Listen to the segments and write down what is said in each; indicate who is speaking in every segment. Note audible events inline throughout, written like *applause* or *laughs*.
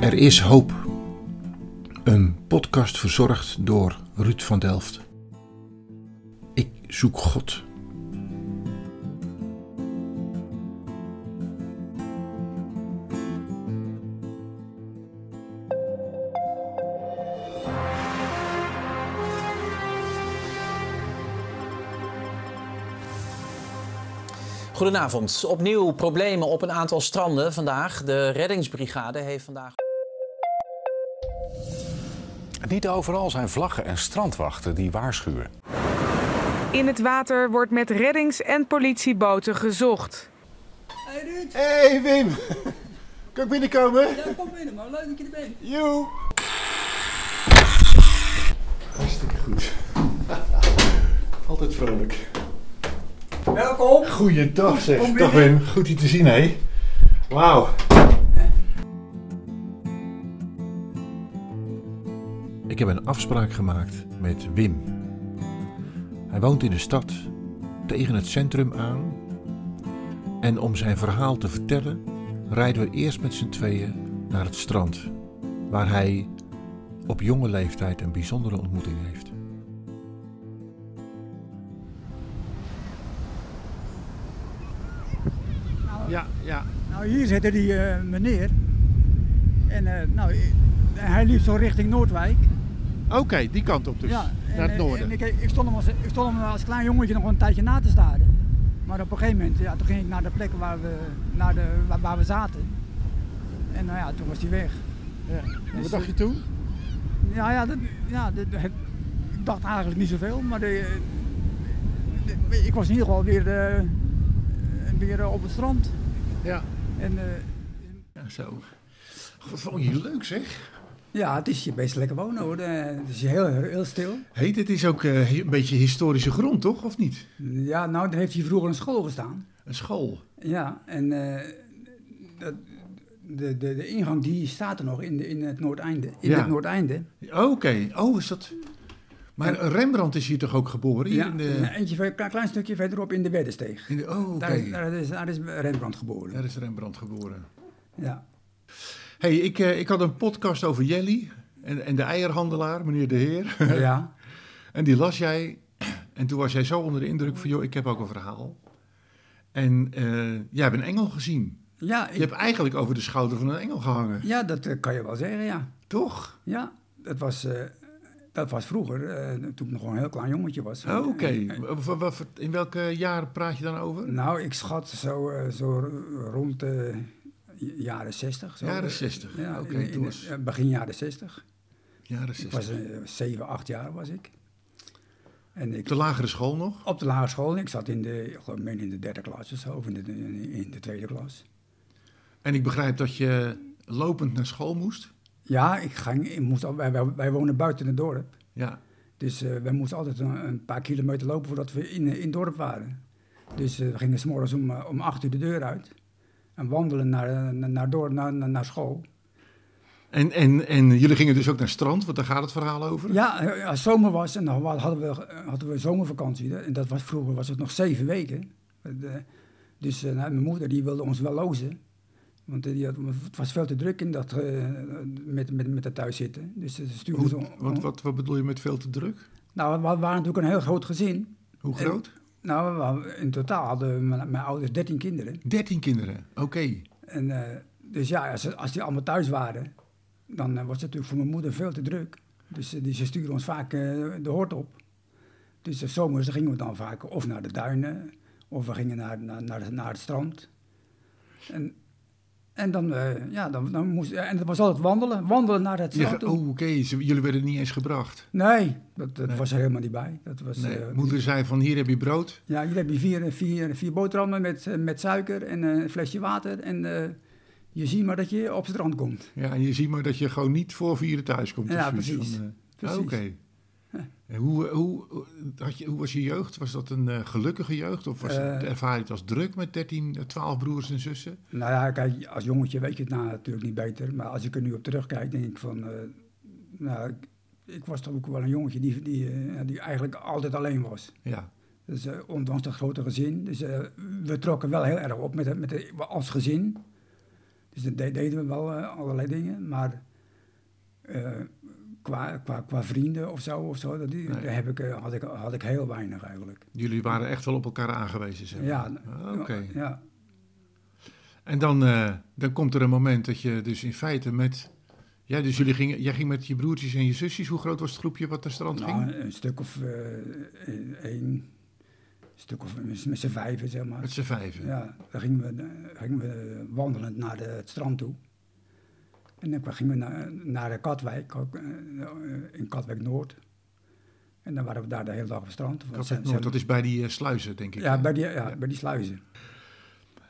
Speaker 1: Er is hoop. Een podcast verzorgd door Ruud van Delft. Ik zoek God.
Speaker 2: Goedenavond. Opnieuw problemen op een aantal stranden vandaag. De reddingsbrigade heeft vandaag.
Speaker 3: Niet overal zijn vlaggen en strandwachten die waarschuwen.
Speaker 4: In het water wordt met reddings- en politieboten gezocht.
Speaker 5: Hey Ruud,
Speaker 6: Hey Wim, kan ik binnenkomen?
Speaker 5: ja, kom binnen man, leuk dat je er bent.
Speaker 6: Joe! Hartstikke goed. *laughs* Altijd vrolijk.
Speaker 5: Welkom.
Speaker 6: Goeiedag zeg.
Speaker 5: Kom
Speaker 6: Dag Wim, goed je te zien hé. Wauw.
Speaker 1: Ik heb een afspraak gemaakt met Wim. Hij woont in de stad, tegen het centrum aan. En om zijn verhaal te vertellen, rijden we eerst met z'n tweeën naar het strand, waar hij op jonge leeftijd een bijzondere ontmoeting heeft.
Speaker 6: Ja, ja.
Speaker 7: Nou, hier zette die eh, meneer. En eh, nou, eh, hij liep zo richting Noordwijk.
Speaker 6: Oké, die kant op dus.
Speaker 7: en,
Speaker 6: naar het
Speaker 7: eh,
Speaker 6: noorden.
Speaker 7: En ik, ik, stond hem als, ik stond hem als klein jongetje nog een tijdje na te staren. Maar op een gegeven moment, ja, toen ging ik naar de plek waar we, naar de, waar, waar we zaten. En nou ja, toen was hij weg.
Speaker 6: Ja. En Wat
Speaker 7: Dus,
Speaker 6: dacht je toen?
Speaker 7: Ja, ja, dat, ja dat, het- ik dacht eigenlijk niet zoveel, maar de, de- ik was in ieder geval weer, eh, weer eh, op het strand.
Speaker 6: Ja.
Speaker 7: En, eh,
Speaker 6: zo. Wat vond je leuk zeg?
Speaker 7: ja, het is je best lekker wonen hoor. Eh, Het is heel, heel stil.
Speaker 6: Hé, dit is ook eh, een beetje historische grond toch, of niet?
Speaker 7: Ja, nou, daar heeft hier vroeger een school gestaan.
Speaker 6: Een school.
Speaker 7: Ja, en eh, dat, de, de, de ingang die staat er nog in, de, in het Noordeinde. In
Speaker 6: Ja.
Speaker 7: het Noordeinde.
Speaker 6: Oké, oh is dat... Maar Rembrandt is hier toch ook geboren? Hier
Speaker 7: Ja,
Speaker 6: in
Speaker 7: een
Speaker 6: de...
Speaker 7: eentje, ver- klein stukje verderop in de Weddensteeg.
Speaker 6: In de... Oh, oké.
Speaker 7: Daar, is- daar, is, daar is Rembrandt geboren.
Speaker 6: Daar is Rembrandt geboren.
Speaker 7: Ja.
Speaker 6: Hey, ik, eh, ik had een podcast over Jelly en, en de eierhandelaar, meneer de Heer. *laughs*
Speaker 7: Ja. ja.
Speaker 6: En die las jij. En toen was jij zo onder de indruk van, joh, ik heb ook een verhaal. En eh, jij hebt een engel gezien.
Speaker 7: ik-
Speaker 6: Je hebt eigenlijk over de schouder van een engel gehangen,
Speaker 7: ja, dat eh, kan je wel zeggen, ja.
Speaker 6: toch?
Speaker 7: Ja, dat was, eh, dat was vroeger, eh, toen ik nog een heel klein jongetje was.
Speaker 6: Oh, Oké.
Speaker 7: En- en-
Speaker 6: Wa- wa- wa- In welke jaren praat je dan over?
Speaker 7: Nou, ik schat zo, eh, zo rond de jaren 60. Zo.
Speaker 6: Jaren 60,
Speaker 7: Ja,
Speaker 6: oké,
Speaker 7: in- in-
Speaker 6: toen was-
Speaker 7: eh, begin jaren 60.
Speaker 6: Jaren
Speaker 7: Ik was
Speaker 6: 60.
Speaker 7: eh, 7, 8 jaar was ik. En
Speaker 6: Op
Speaker 7: ik
Speaker 6: de lagere school nog?
Speaker 7: op de lagere school, ik zat in de, ik geloof, ik meen in de derde klas of zo, of in de, in de tweede klas.
Speaker 6: En ik begrijp dat je lopend naar school moest.
Speaker 7: Ja, ik ging, ik moest al, wij, wij- wij wonen buiten het dorp.
Speaker 6: Ja.
Speaker 7: Dus eh, wij moesten altijd een, een paar kilometer lopen voordat we in, in het dorp waren. Dus eh, we gingen s'morgens om, eh, om 8 uur de deur uit. En wandelen naar, eh, naar, naar, dorp, naar, naar, naar school.
Speaker 6: En, en, en jullie gingen dus ook naar het strand, want daar gaat het verhaal over.
Speaker 7: Ja, eh, als zomer was en dan hadden we, eh, hadden we zomervakantie. En dat was, vroeger was het nog zeven weken. Eh, De- Dus eh, nou, mijn moeder die wilde ons wel lozen. Want eh, die had, het was veel te druk in dat, eh, met, met, met het thuiszitten. Dus ze stuurde
Speaker 6: Hoe-
Speaker 7: ze...
Speaker 6: wat, wat, wat bedoel je met veel te druk?
Speaker 7: Nou, we waren natuurlijk een heel groot gezin.
Speaker 6: Hoe
Speaker 7: En-
Speaker 6: groot?
Speaker 7: Nou, we hadden- in totaal hadden mijn, mijn ouders dertien kinderen.
Speaker 6: 13 kinderen, oké.
Speaker 7: En, eh, dus ja, als, als die allemaal thuis waren, dan eh, was het natuurlijk voor mijn moeder veel te druk. Dus eh, die, ze stuurde ons vaak eh, de hort op. Dus de zomers gingen we dan vaak of naar de duinen, of we gingen naar, naar, naar, naar het strand. En, en dan, eh, ja, dan, dan moest, en dat was altijd wandelen, wandelen naar het
Speaker 6: Je
Speaker 7: strand
Speaker 6: ge-
Speaker 7: toe.
Speaker 6: oh, oké, ze- jullie werden niet eens gebracht.
Speaker 7: Nee, dat, dat was er helemaal niet bij. Dat was,
Speaker 6: Nee,
Speaker 7: eh,
Speaker 6: moeder zei van hier heb je brood.
Speaker 7: Ja, hier heb je vier, vier, vier boterhammen met, eh, met suiker en eh, een flesje water. En eh, je ziet maar dat je op het strand komt.
Speaker 6: Ja, en je ziet maar dat je gewoon niet voor vieren thuis komt.
Speaker 7: Ja,
Speaker 6: Dus zoiets
Speaker 7: precies.
Speaker 6: van, eh,
Speaker 7: Precies.
Speaker 6: Oké. En Hoe, eh, hoe, hoe- had je, hoe was je jeugd? Was dat een eh, gelukkige jeugd? Of was het,
Speaker 7: Eh,
Speaker 6: ervaar je het als druk met 13, eh, 12 broers en zussen?
Speaker 7: Nou ja, kijk, als jongetje weet je het nou natuurlijk niet beter. Maar als ik er nu op terugkijk, denk ik van... eh, nou, ik, ik was toch ook wel een jongetje die, die, eh, die eigenlijk altijd alleen was.
Speaker 6: Ja.
Speaker 7: Dus eh, ondanks dat grote gezin. Dus eh, we trokken wel heel erg op met, het- met het- als gezin. Dus Dus dan de- deden we wel eh, allerlei dingen, maar eh, qua, qua, qua vrienden of zo, of zo dat, die-
Speaker 6: Nee.
Speaker 7: daar heb ik, eh, had, ik, had ik heel weinig eigenlijk.
Speaker 6: Jullie waren echt wel op elkaar aangewezen, zeg maar.
Speaker 7: Ja,
Speaker 6: Ah, Oké.
Speaker 7: ja,
Speaker 6: En dan, eh, dan komt er een moment dat je dus in feite met... Ja, dus jullie gingen, jij ging met je broertjes en je zusjes. Hoe groot was het groepje wat naar strand
Speaker 7: nou,
Speaker 6: ging?
Speaker 7: een, een stuk of eh één, stuk of met z'n- met z'n vijven, zeg maar.
Speaker 6: Met z'n vijven.
Speaker 7: Ja, dan gingen we, eh, gingen we wandelend naar de, het strand toe. En dan gingen we naar, naar de Katwijk, ook, eh, in Katwijk Noord. En dan waren we daar de hele dag op het strand. Want
Speaker 6: Katwijk
Speaker 7: ze- ze
Speaker 6: Noord, dat
Speaker 7: hebben-
Speaker 6: is bij die eh, sluizen, denk ik.
Speaker 7: ja,
Speaker 6: hè?
Speaker 7: bij die, ja, bij die sluizen.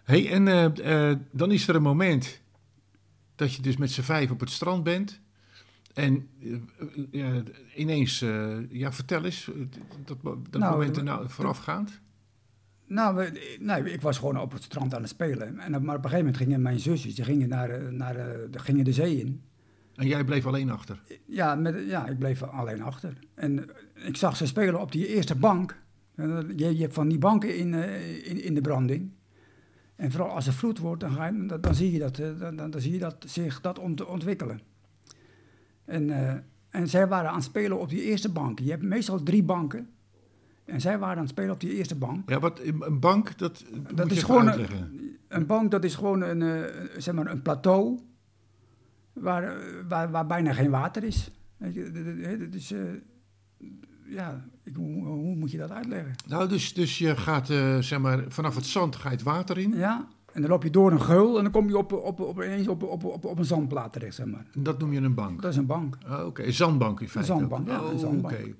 Speaker 6: hey, en eh, eh, dan is er een moment dat je dus met z'n vijf op het strand bent. En eh, eh, eh, ineens, eh, ja, vertel eens, eh, dat, mo- dat
Speaker 7: Nou,
Speaker 6: moment
Speaker 7: eh,
Speaker 6: erna- voorafgaand.
Speaker 7: Nou, we, nee, ik was gewoon op het strand aan het spelen. En, dan- maar op een gegeven moment gingen mijn zusjes die gingen naar, eh, naar, eh, de- gingen de zee in.
Speaker 6: En jij bleef alleen achter.
Speaker 7: Ja, met, ja, ik bleef alleen achter. En eh, ik zag ze spelen op die eerste bank. En dat- Je, je hebt van die banken in, eh, in, in de branding. En vooral als er vloed wordt, dan, ga je, dan, dan zie je dat, eh, dan, dan, dan zie je dat zich dat ont- ontwikkelen. En, eh, en zij waren aan het spelen op die eerste bank. Je hebt meestal drie banken. En zij waren aan het spelen op die eerste bank.
Speaker 6: Ja, wat, een een bank, dat, eh, moet je
Speaker 7: is
Speaker 6: even
Speaker 7: gewoon een-
Speaker 6: uitleggen.
Speaker 7: Een bank, dat is gewoon een, eh, zeg maar een plateau waar, eh, waar, waar bijna geen water is. Weet je, dat- dat- dat is, eh, ja, ik, hoe, hoe moet je dat uitleggen?
Speaker 6: Nou, dus, dus je gaat, eh, zeg maar, vanaf het zand ga je het water in.
Speaker 7: Ja, en dan loop je door een geul en dan kom je op, op, op, ineens op, op, op, op een zandplaat terecht, zeg maar.
Speaker 6: En dat noem je een bank.
Speaker 7: Dat is een bank.
Speaker 6: Ah, Oké, een zandbank in feite. ook.
Speaker 7: zandbank, ja, een
Speaker 6: Oh,
Speaker 7: zandbank.
Speaker 6: oké.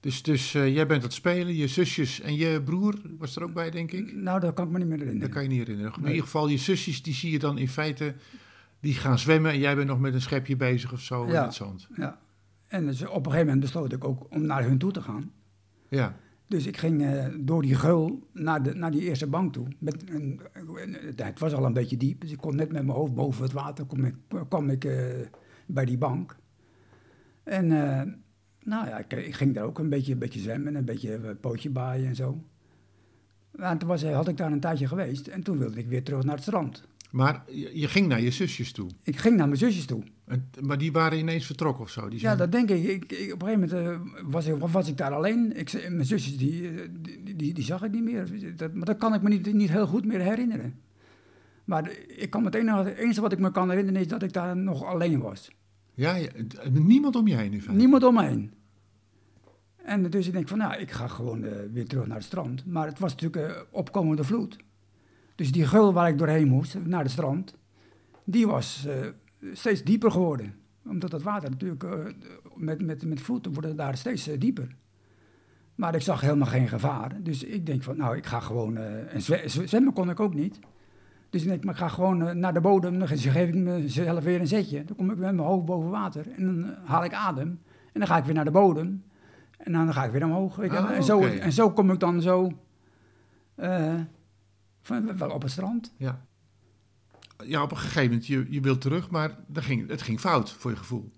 Speaker 6: Dus, dus eh, jij bent aan het spelen, je zusjes en je broer was er ook bij, denk ik?
Speaker 7: Nou, dat kan ik me niet meer herinneren.
Speaker 6: Dat kan je niet herinneren. Maar in ieder geval, je zusjes, die zie je dan in feite, die gaan zwemmen en jij bent nog met een schepje bezig of zo in
Speaker 7: Ja.
Speaker 6: het zand.
Speaker 7: Ja. En dus op een gegeven moment besloot ik ook om naar hun toe te gaan.
Speaker 6: Ja,
Speaker 7: Dus ik ging eh, door die geul naar, de, naar die eerste bank toe. Met een, een- het was al een beetje diep, dus ik kon net met mijn hoofd boven het water, kom ik, kwam ik eh, bij die bank. En eh, nou ja, ik, ik ging daar ook een beetje, een beetje zwemmen, een beetje eh, pootje baaien en zo. Nou, toen was, had ik daar een tijdje geweest en toen wilde ik weer terug naar het strand.
Speaker 6: maar je, je ging naar je zusjes toe.
Speaker 7: Ik ging naar mijn zusjes toe.
Speaker 6: En, maar die waren ineens vertrokken of zo? Die
Speaker 7: Ja,
Speaker 6: zijn-
Speaker 7: dat denk ik. ik, ik- op een gegeven moment eh, was, ik, was ik daar alleen. Ik, ze- mijn zusjes, die, eh, die, die, die zag ik niet meer. Dat, maar dat kan ik me niet, niet heel goed meer herinneren. Maar ik kan me het enige, het enige wat ik me kan herinneren is dat ik daar nog alleen was.
Speaker 6: ja, ja, d- niemand om je heen in feite.
Speaker 7: Niemand om me heen. En dus ik denk van, nou, ik ga gewoon eh, weer terug naar het strand. Maar het was natuurlijk eh, opkomende vloed. Dus die geul waar ik doorheen moest, naar het strand, die was eh, steeds dieper geworden. Omdat dat water natuurlijk, eh, met, met, met vloed wordt het daar steeds eh, dieper. Maar ik zag helemaal geen gevaar. Dus ik denk van, nou, ik ga gewoon... eh, en zwe- zwe- zwemmen kon ik ook niet. Dus ik denk, maar ik ga gewoon eh, naar de bodem. Dan ge- geef ik mezelf weer een zetje. Dan kom ik met mijn hoofd boven water. En dan eh, haal ik adem. En dan ga ik weer naar de bodem. En dan ga ik weer omhoog. Weet je.
Speaker 6: Ah,
Speaker 7: en, zo,
Speaker 6: oké.
Speaker 7: en zo kom ik dan zo... eh, van, wel op het strand.
Speaker 6: Ja. Ja, op een gegeven moment, je, je wilt terug, maar dan ging, het ging fout voor je gevoel.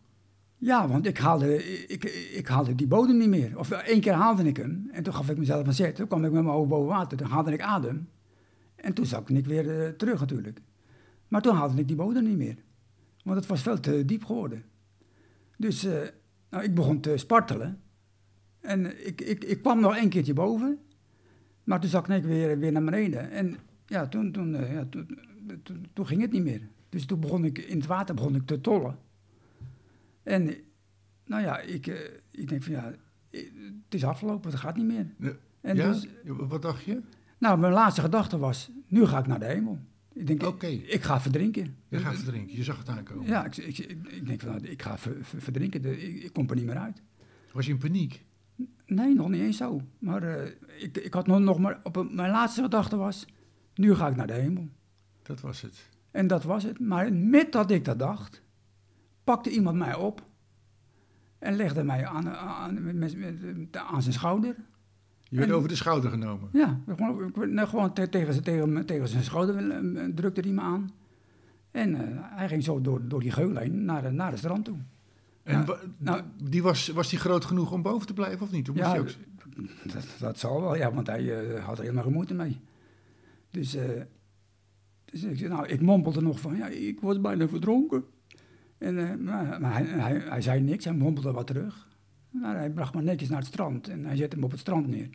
Speaker 7: Ja, want ik haalde, ik, ik haalde die bodem niet meer. Of eh, één keer haalde ik hem. En toen gaf ik mezelf een zet. Toen kwam ik met mijn hoofd boven water. Toen haalde ik adem. En toen zakte ik weer eh, terug natuurlijk. Maar toen haalde ik die bodem niet meer. Want het was veel te diep geworden. Dus eh, nou, ik begon te spartelen. En ik, ik, ik kwam nog één keertje boven. Maar toen zakte ik weer, weer naar beneden. En ja, toen, toen, eh, ja, toen, toen, toen ging het niet meer. Dus toen begon ik in het water begon ik te tollen. En nou ja, ik, eh, ik denk van ja, eh, het is afgelopen, het gaat niet meer.
Speaker 6: Ja,
Speaker 7: En
Speaker 6: ja?
Speaker 7: dus,
Speaker 6: Wat dacht je?
Speaker 7: nou, mijn laatste gedachte was, nu ga ik naar de hemel. Ik denk,
Speaker 6: Oké.
Speaker 7: ik, ik ga verdrinken.
Speaker 6: Je gaat verdrinken, je zag het aankomen.
Speaker 7: Ja, ik, ik, ik, ik denk van, nou, ik ga ver- ver- verdrinken, De- ik, ik kom er niet meer uit.
Speaker 6: Was je in paniek?
Speaker 7: Nee, nog niet eens zo. Maar eh, ik, ik had nog, nog maar, op een- mijn laatste gedachte was, nu ga ik naar de hemel.
Speaker 6: Dat was het.
Speaker 7: En dat was het. Maar met dat ik dat dacht, pakte iemand mij op en legde mij aan, aan, met- met- met- aan zijn schouder.
Speaker 6: Je werd
Speaker 7: En-
Speaker 6: over de schouder genomen.
Speaker 7: Ja, gewoon, ik werd- nou, gewoon te- tegen, zijn- tegen, mijn- tegen zijn schouder eh, drukte hij me aan. En eh, hij ging zo door, door die geul heen naar, de- naar het strand toe.
Speaker 6: En wa-
Speaker 7: nou-
Speaker 6: die was, was die groot genoeg om boven te blijven of niet? Toen moest
Speaker 7: Ja,
Speaker 6: je ook-
Speaker 7: Dat, dat zal wel, ja, want hij eh, had er helemaal geen moeite mee. Dus eh, Dus ik, zei, nou, ik mompelde nog van, ja, ik was bijna verdronken. En, eh, maar maar hij, hij, hij zei niks, hij mompelde wat terug. Maar hij bracht me netjes naar het strand en hij zette hem op het strand neer.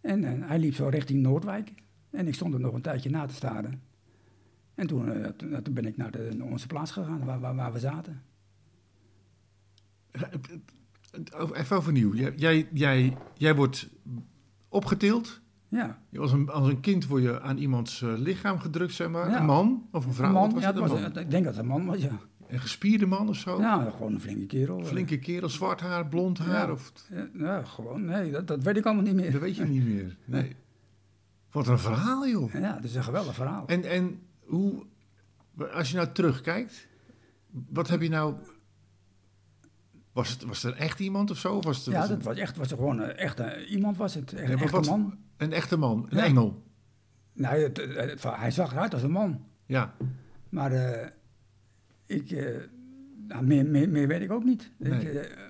Speaker 7: En eh, hij liep zo richting Noordwijk. En ik stond hem nog een tijdje na te staren. En toen, eh, toen, toen ben ik naar, de- naar onze plaats gegaan, waar, waar, waar we zaten.
Speaker 6: Even overnieuw. Jij, jij, jij, jij wordt opgetild.
Speaker 7: Ja,
Speaker 6: Je- Als een, als een kind word je aan iemands eh, lichaam gedrukt, zeg maar.
Speaker 7: Ja.
Speaker 6: Een man of een vrouw.
Speaker 7: een
Speaker 6: Wat
Speaker 7: man,
Speaker 6: was
Speaker 7: ja,
Speaker 6: het,
Speaker 7: het was,
Speaker 6: een, man?
Speaker 7: ik denk dat het een man was, ja.
Speaker 6: een gespierde man of zo.
Speaker 7: Ja, gewoon een flinke kerel. eh.
Speaker 6: Flinke kerel, zwart haar, blond haar.
Speaker 7: Ja.
Speaker 6: Of,
Speaker 7: Ja, nou, gewoon, nee, dat, dat weet ik allemaal niet meer.
Speaker 6: dat weet je niet meer. Nee. Wat een verhaal, joh.
Speaker 7: *laughs* Ja, dat is een geweldig verhaal.
Speaker 6: En, en hoe, als je nou terugkijkt, wat heb je nou. Was, het, was er echt iemand of zo? Of was het,
Speaker 7: ja,
Speaker 6: was
Speaker 7: dat
Speaker 6: het-
Speaker 7: was echt was er gewoon eh, echt, eh, iemand was het. Echt,
Speaker 6: Nee,
Speaker 7: een
Speaker 6: maar
Speaker 7: echte
Speaker 6: wat-
Speaker 7: man.
Speaker 6: Een echte man, een
Speaker 7: Ja.
Speaker 6: engel.
Speaker 7: Nee, het- eh, het- hij zag eruit als een man.
Speaker 6: Ja,
Speaker 7: Maar eh, ik, eh, nou, meer, meer, meer weet ik ook niet. Ik,
Speaker 6: Nee.
Speaker 7: eh,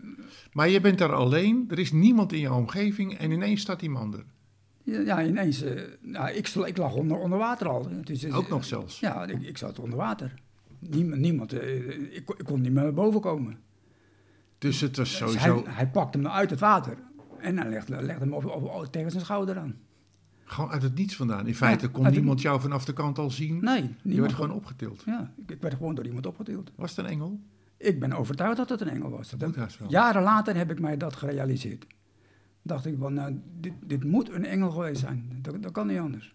Speaker 6: maar je bent daar alleen, er is niemand in je omgeving en ineens staat iemand er.
Speaker 7: ja, ineens, eh, nou, ik, sl- ik lag onder, onder water al. Dus, eh,
Speaker 6: Ook nog zelfs.
Speaker 7: Ja, ik, ik zat onder water. Niemand, niemand eh, ik, kon- ik kon niet meer naar boven komen.
Speaker 6: Dus het was
Speaker 7: Dus
Speaker 6: sowieso
Speaker 7: hij, hij pakte me uit het water en hij legde, legde me op, op- op- tegen zijn schouder aan.
Speaker 6: gewoon uit het niets vandaan. In feite kon
Speaker 7: uit het-
Speaker 6: niemand jou vanaf de kant al zien.
Speaker 7: Nee,
Speaker 6: je
Speaker 7: niemand
Speaker 6: werd gewoon
Speaker 7: kon-
Speaker 6: opgetild.
Speaker 7: Ja, ik, ik werd gewoon door iemand opgetild.
Speaker 6: Was het een engel?
Speaker 7: Ik ben overtuigd dat het een engel was.
Speaker 6: moet haast wel.
Speaker 7: jaren later heb ik mij dat gerealiseerd. Dacht ik, van, nou, dit, dit moet een engel geweest zijn. Dat, dat kan niet anders.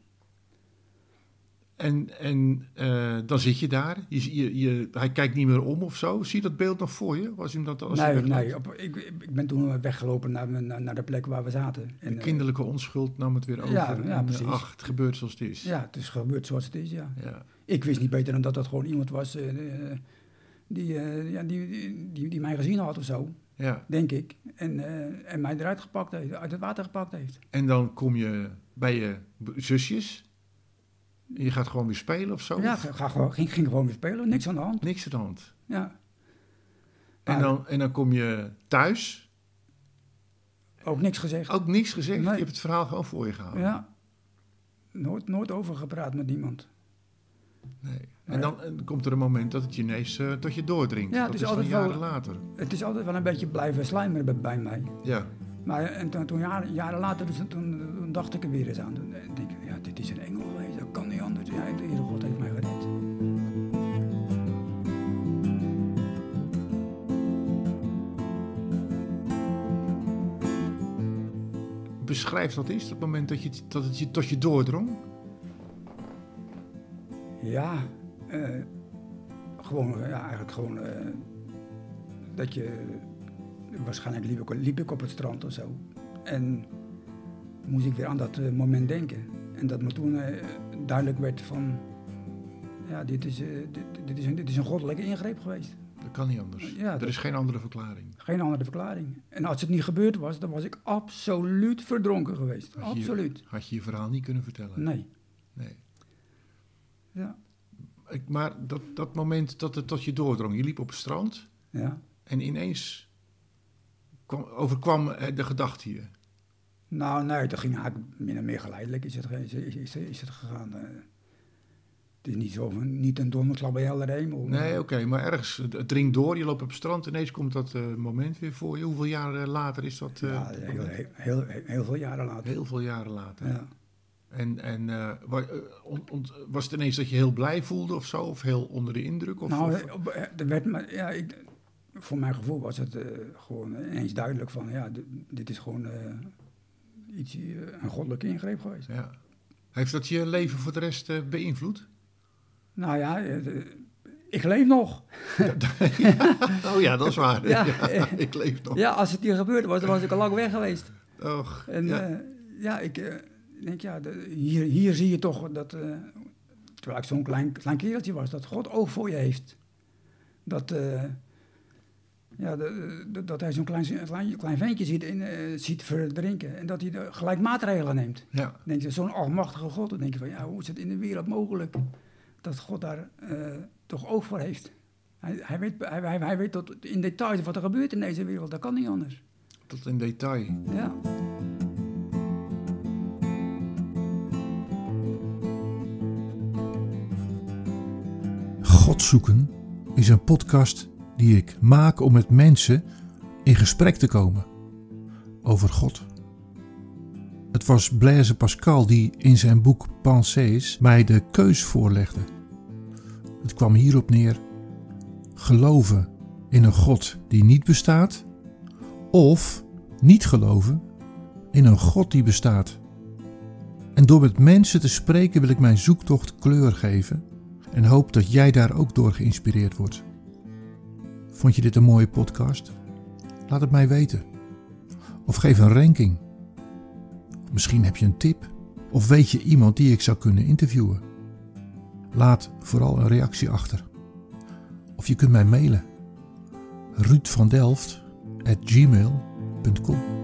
Speaker 6: En, en eh, dan zit je daar. Je, je, je- hij kijkt niet meer om of zo. Zie je dat beeld nog voor je? Was hem dat als hij
Speaker 7: nee,
Speaker 6: wegloopt?
Speaker 7: nee. op- ik, ik ben toen weggelopen naar, mijn- naar, naar de plek waar we zaten. En,
Speaker 6: De
Speaker 7: eh,
Speaker 6: kinderlijke onschuld nam het weer over.
Speaker 7: ja,
Speaker 6: en,
Speaker 7: ja,
Speaker 6: eh,
Speaker 7: precies.
Speaker 6: Ach, het gebeurt zoals het is.
Speaker 7: ja, het is gebeurd zoals het is, ja.
Speaker 6: Ja.
Speaker 7: Ik wist niet beter dan dat dat gewoon iemand was eh, eh, die, eh, ja, die, die, die, die mij gezien had of zo,
Speaker 6: Ja.
Speaker 7: denk ik. En, eh, en mij eruit gepakt heeft, uit het water gepakt heeft.
Speaker 6: En dan kom je bij je b- zusjes. En je gaat gewoon weer spelen of zo.
Speaker 7: Ja, ga, ga gewoon, ging, ging gewoon weer spelen, niks aan de hand.
Speaker 6: Niks aan de hand.
Speaker 7: Ja,
Speaker 6: En
Speaker 7: Maar-
Speaker 6: dan, en dan kom je thuis.
Speaker 7: ook niks gezegd.
Speaker 6: Ook niks gezegd.
Speaker 7: Nee.
Speaker 6: Je hebt het verhaal gewoon voor je gehouden.
Speaker 7: Ja. Nooit, nooit over gepraat met niemand.
Speaker 6: Nee. En dan eh, komt er een moment dat het je ineens eh, tot je doordringt.
Speaker 7: Ja, het
Speaker 6: dat
Speaker 7: is
Speaker 6: is dan
Speaker 7: altijd wel-
Speaker 6: jaren later.
Speaker 7: Het is altijd wel een beetje blijven slijmeren bij, bij mij.
Speaker 6: Ja.
Speaker 7: Maar eh, en toen, toen jaren, jaren later, dus, toen, toen dacht ik er weer eens aan. Toen eh, denk ik, ja, dit is een engel geweest, dat kan niet anders. Ja, de Heere God heeft mij gered.
Speaker 6: Beschrijf dat eens, dat moment dat, je, dat het je tot je doordrong.
Speaker 7: Ja, eh, gewoon, eh, ja, eigenlijk gewoon eh, dat je... Waarschijnlijk liep ik, liep ik op het strand of zo. En moest ik weer aan dat eh, moment denken. En dat me toen eh, duidelijk werd van... Ja, dit is, eh, dit, dit, is een, dit is een goddelijke ingreep geweest.
Speaker 6: Dat kan niet anders.
Speaker 7: Ja,
Speaker 6: er
Speaker 7: dat-
Speaker 6: is geen andere verklaring.
Speaker 7: Geen andere verklaring. En als het niet gebeurd was, dan was ik absoluut verdronken geweest.
Speaker 6: Had je-
Speaker 7: Absoluut.
Speaker 6: Had je je verhaal niet kunnen vertellen.
Speaker 7: Nee.
Speaker 6: Nee.
Speaker 7: Ja.
Speaker 6: Ik- Maar dat, dat moment dat het tot je doordrong. Je liep op het strand
Speaker 7: ja.
Speaker 6: en ineens kwam, overkwam eh, de gedachte je.
Speaker 7: Nou, nee, dat ging eigenlijk min of meer geleidelijk is het, ge- is, is, is- is het gegaan. eh. het is niet zo van, niet een donderklap bij helder hemel.
Speaker 6: Nee, oké, maar ergens, het het dringt door. Je loopt op het strand, ineens komt dat eh, moment weer voor je. Hoeveel jaar eh, later is dat? eh,
Speaker 7: ja,
Speaker 6: dat
Speaker 7: heel,
Speaker 6: moment?
Speaker 7: heel, heel, heel veel jaren later.
Speaker 6: Heel veel jaren later.
Speaker 7: Ja.
Speaker 6: En, en eh, wa- eh, on- ont- was het ineens dat je heel blij voelde of zo? Of heel onder de indruk? Of,
Speaker 7: nou,
Speaker 6: of-
Speaker 7: eh, op- eh, er werd me, ja, ik, voor mijn gevoel was het eh, gewoon ineens duidelijk van, ja, dit, dit is gewoon eh, iets, eh, een goddelijke ingreep geweest.
Speaker 6: ja. Heeft dat je leven voor de rest eh, beïnvloed?
Speaker 7: Nou ja, eh, eh, ik leef nog.
Speaker 6: Oh ja, dat is waar.
Speaker 7: Ja.
Speaker 6: *laughs* Ja, ik leef nog.
Speaker 7: Ja, als het niet gebeurd was, dan was ik al lang weg geweest.
Speaker 6: Och,
Speaker 7: En
Speaker 6: ja.
Speaker 7: ja, ja ik eh, denk, ja, de- hier, hier zie je toch dat, eh, terwijl ik zo'n klein, klein kereltje was, dat God oog voor je heeft. Dat, eh, ja, de- de- dat hij zo'n klein, klein, klein ventje ziet, in, eh, ziet verdrinken en dat hij er gelijk maatregelen neemt.
Speaker 6: ja.
Speaker 7: Dan denk je, zo'n almachtige God, dan denk je van, ja, hoe is het in de wereld mogelijk dat God daar eh, toch oog voor heeft? Hij, hij, weet, hij, hij, hij weet tot in details wat er gebeurt in deze wereld, dat kan niet anders.
Speaker 6: Tot in detail.
Speaker 7: Ja.
Speaker 1: God zoeken is een podcast die ik maak om met mensen in gesprek te komen over God. Het was Blaise Pascal die in zijn boek Pensées mij de keus voorlegde. Het kwam hierop neer: geloven in een God die niet bestaat, of niet geloven in een God die bestaat. En door met mensen te spreken wil ik mijn zoektocht kleur geven en hoop dat jij daar ook door geïnspireerd wordt. Vond je dit een mooie podcast? Laat het mij weten. Of geef een ranking. Misschien heb je een tip of weet je iemand die ik zou kunnen interviewen. Laat vooral een reactie achter. Of je kunt mij mailen. Ruud van Delft at gmail.com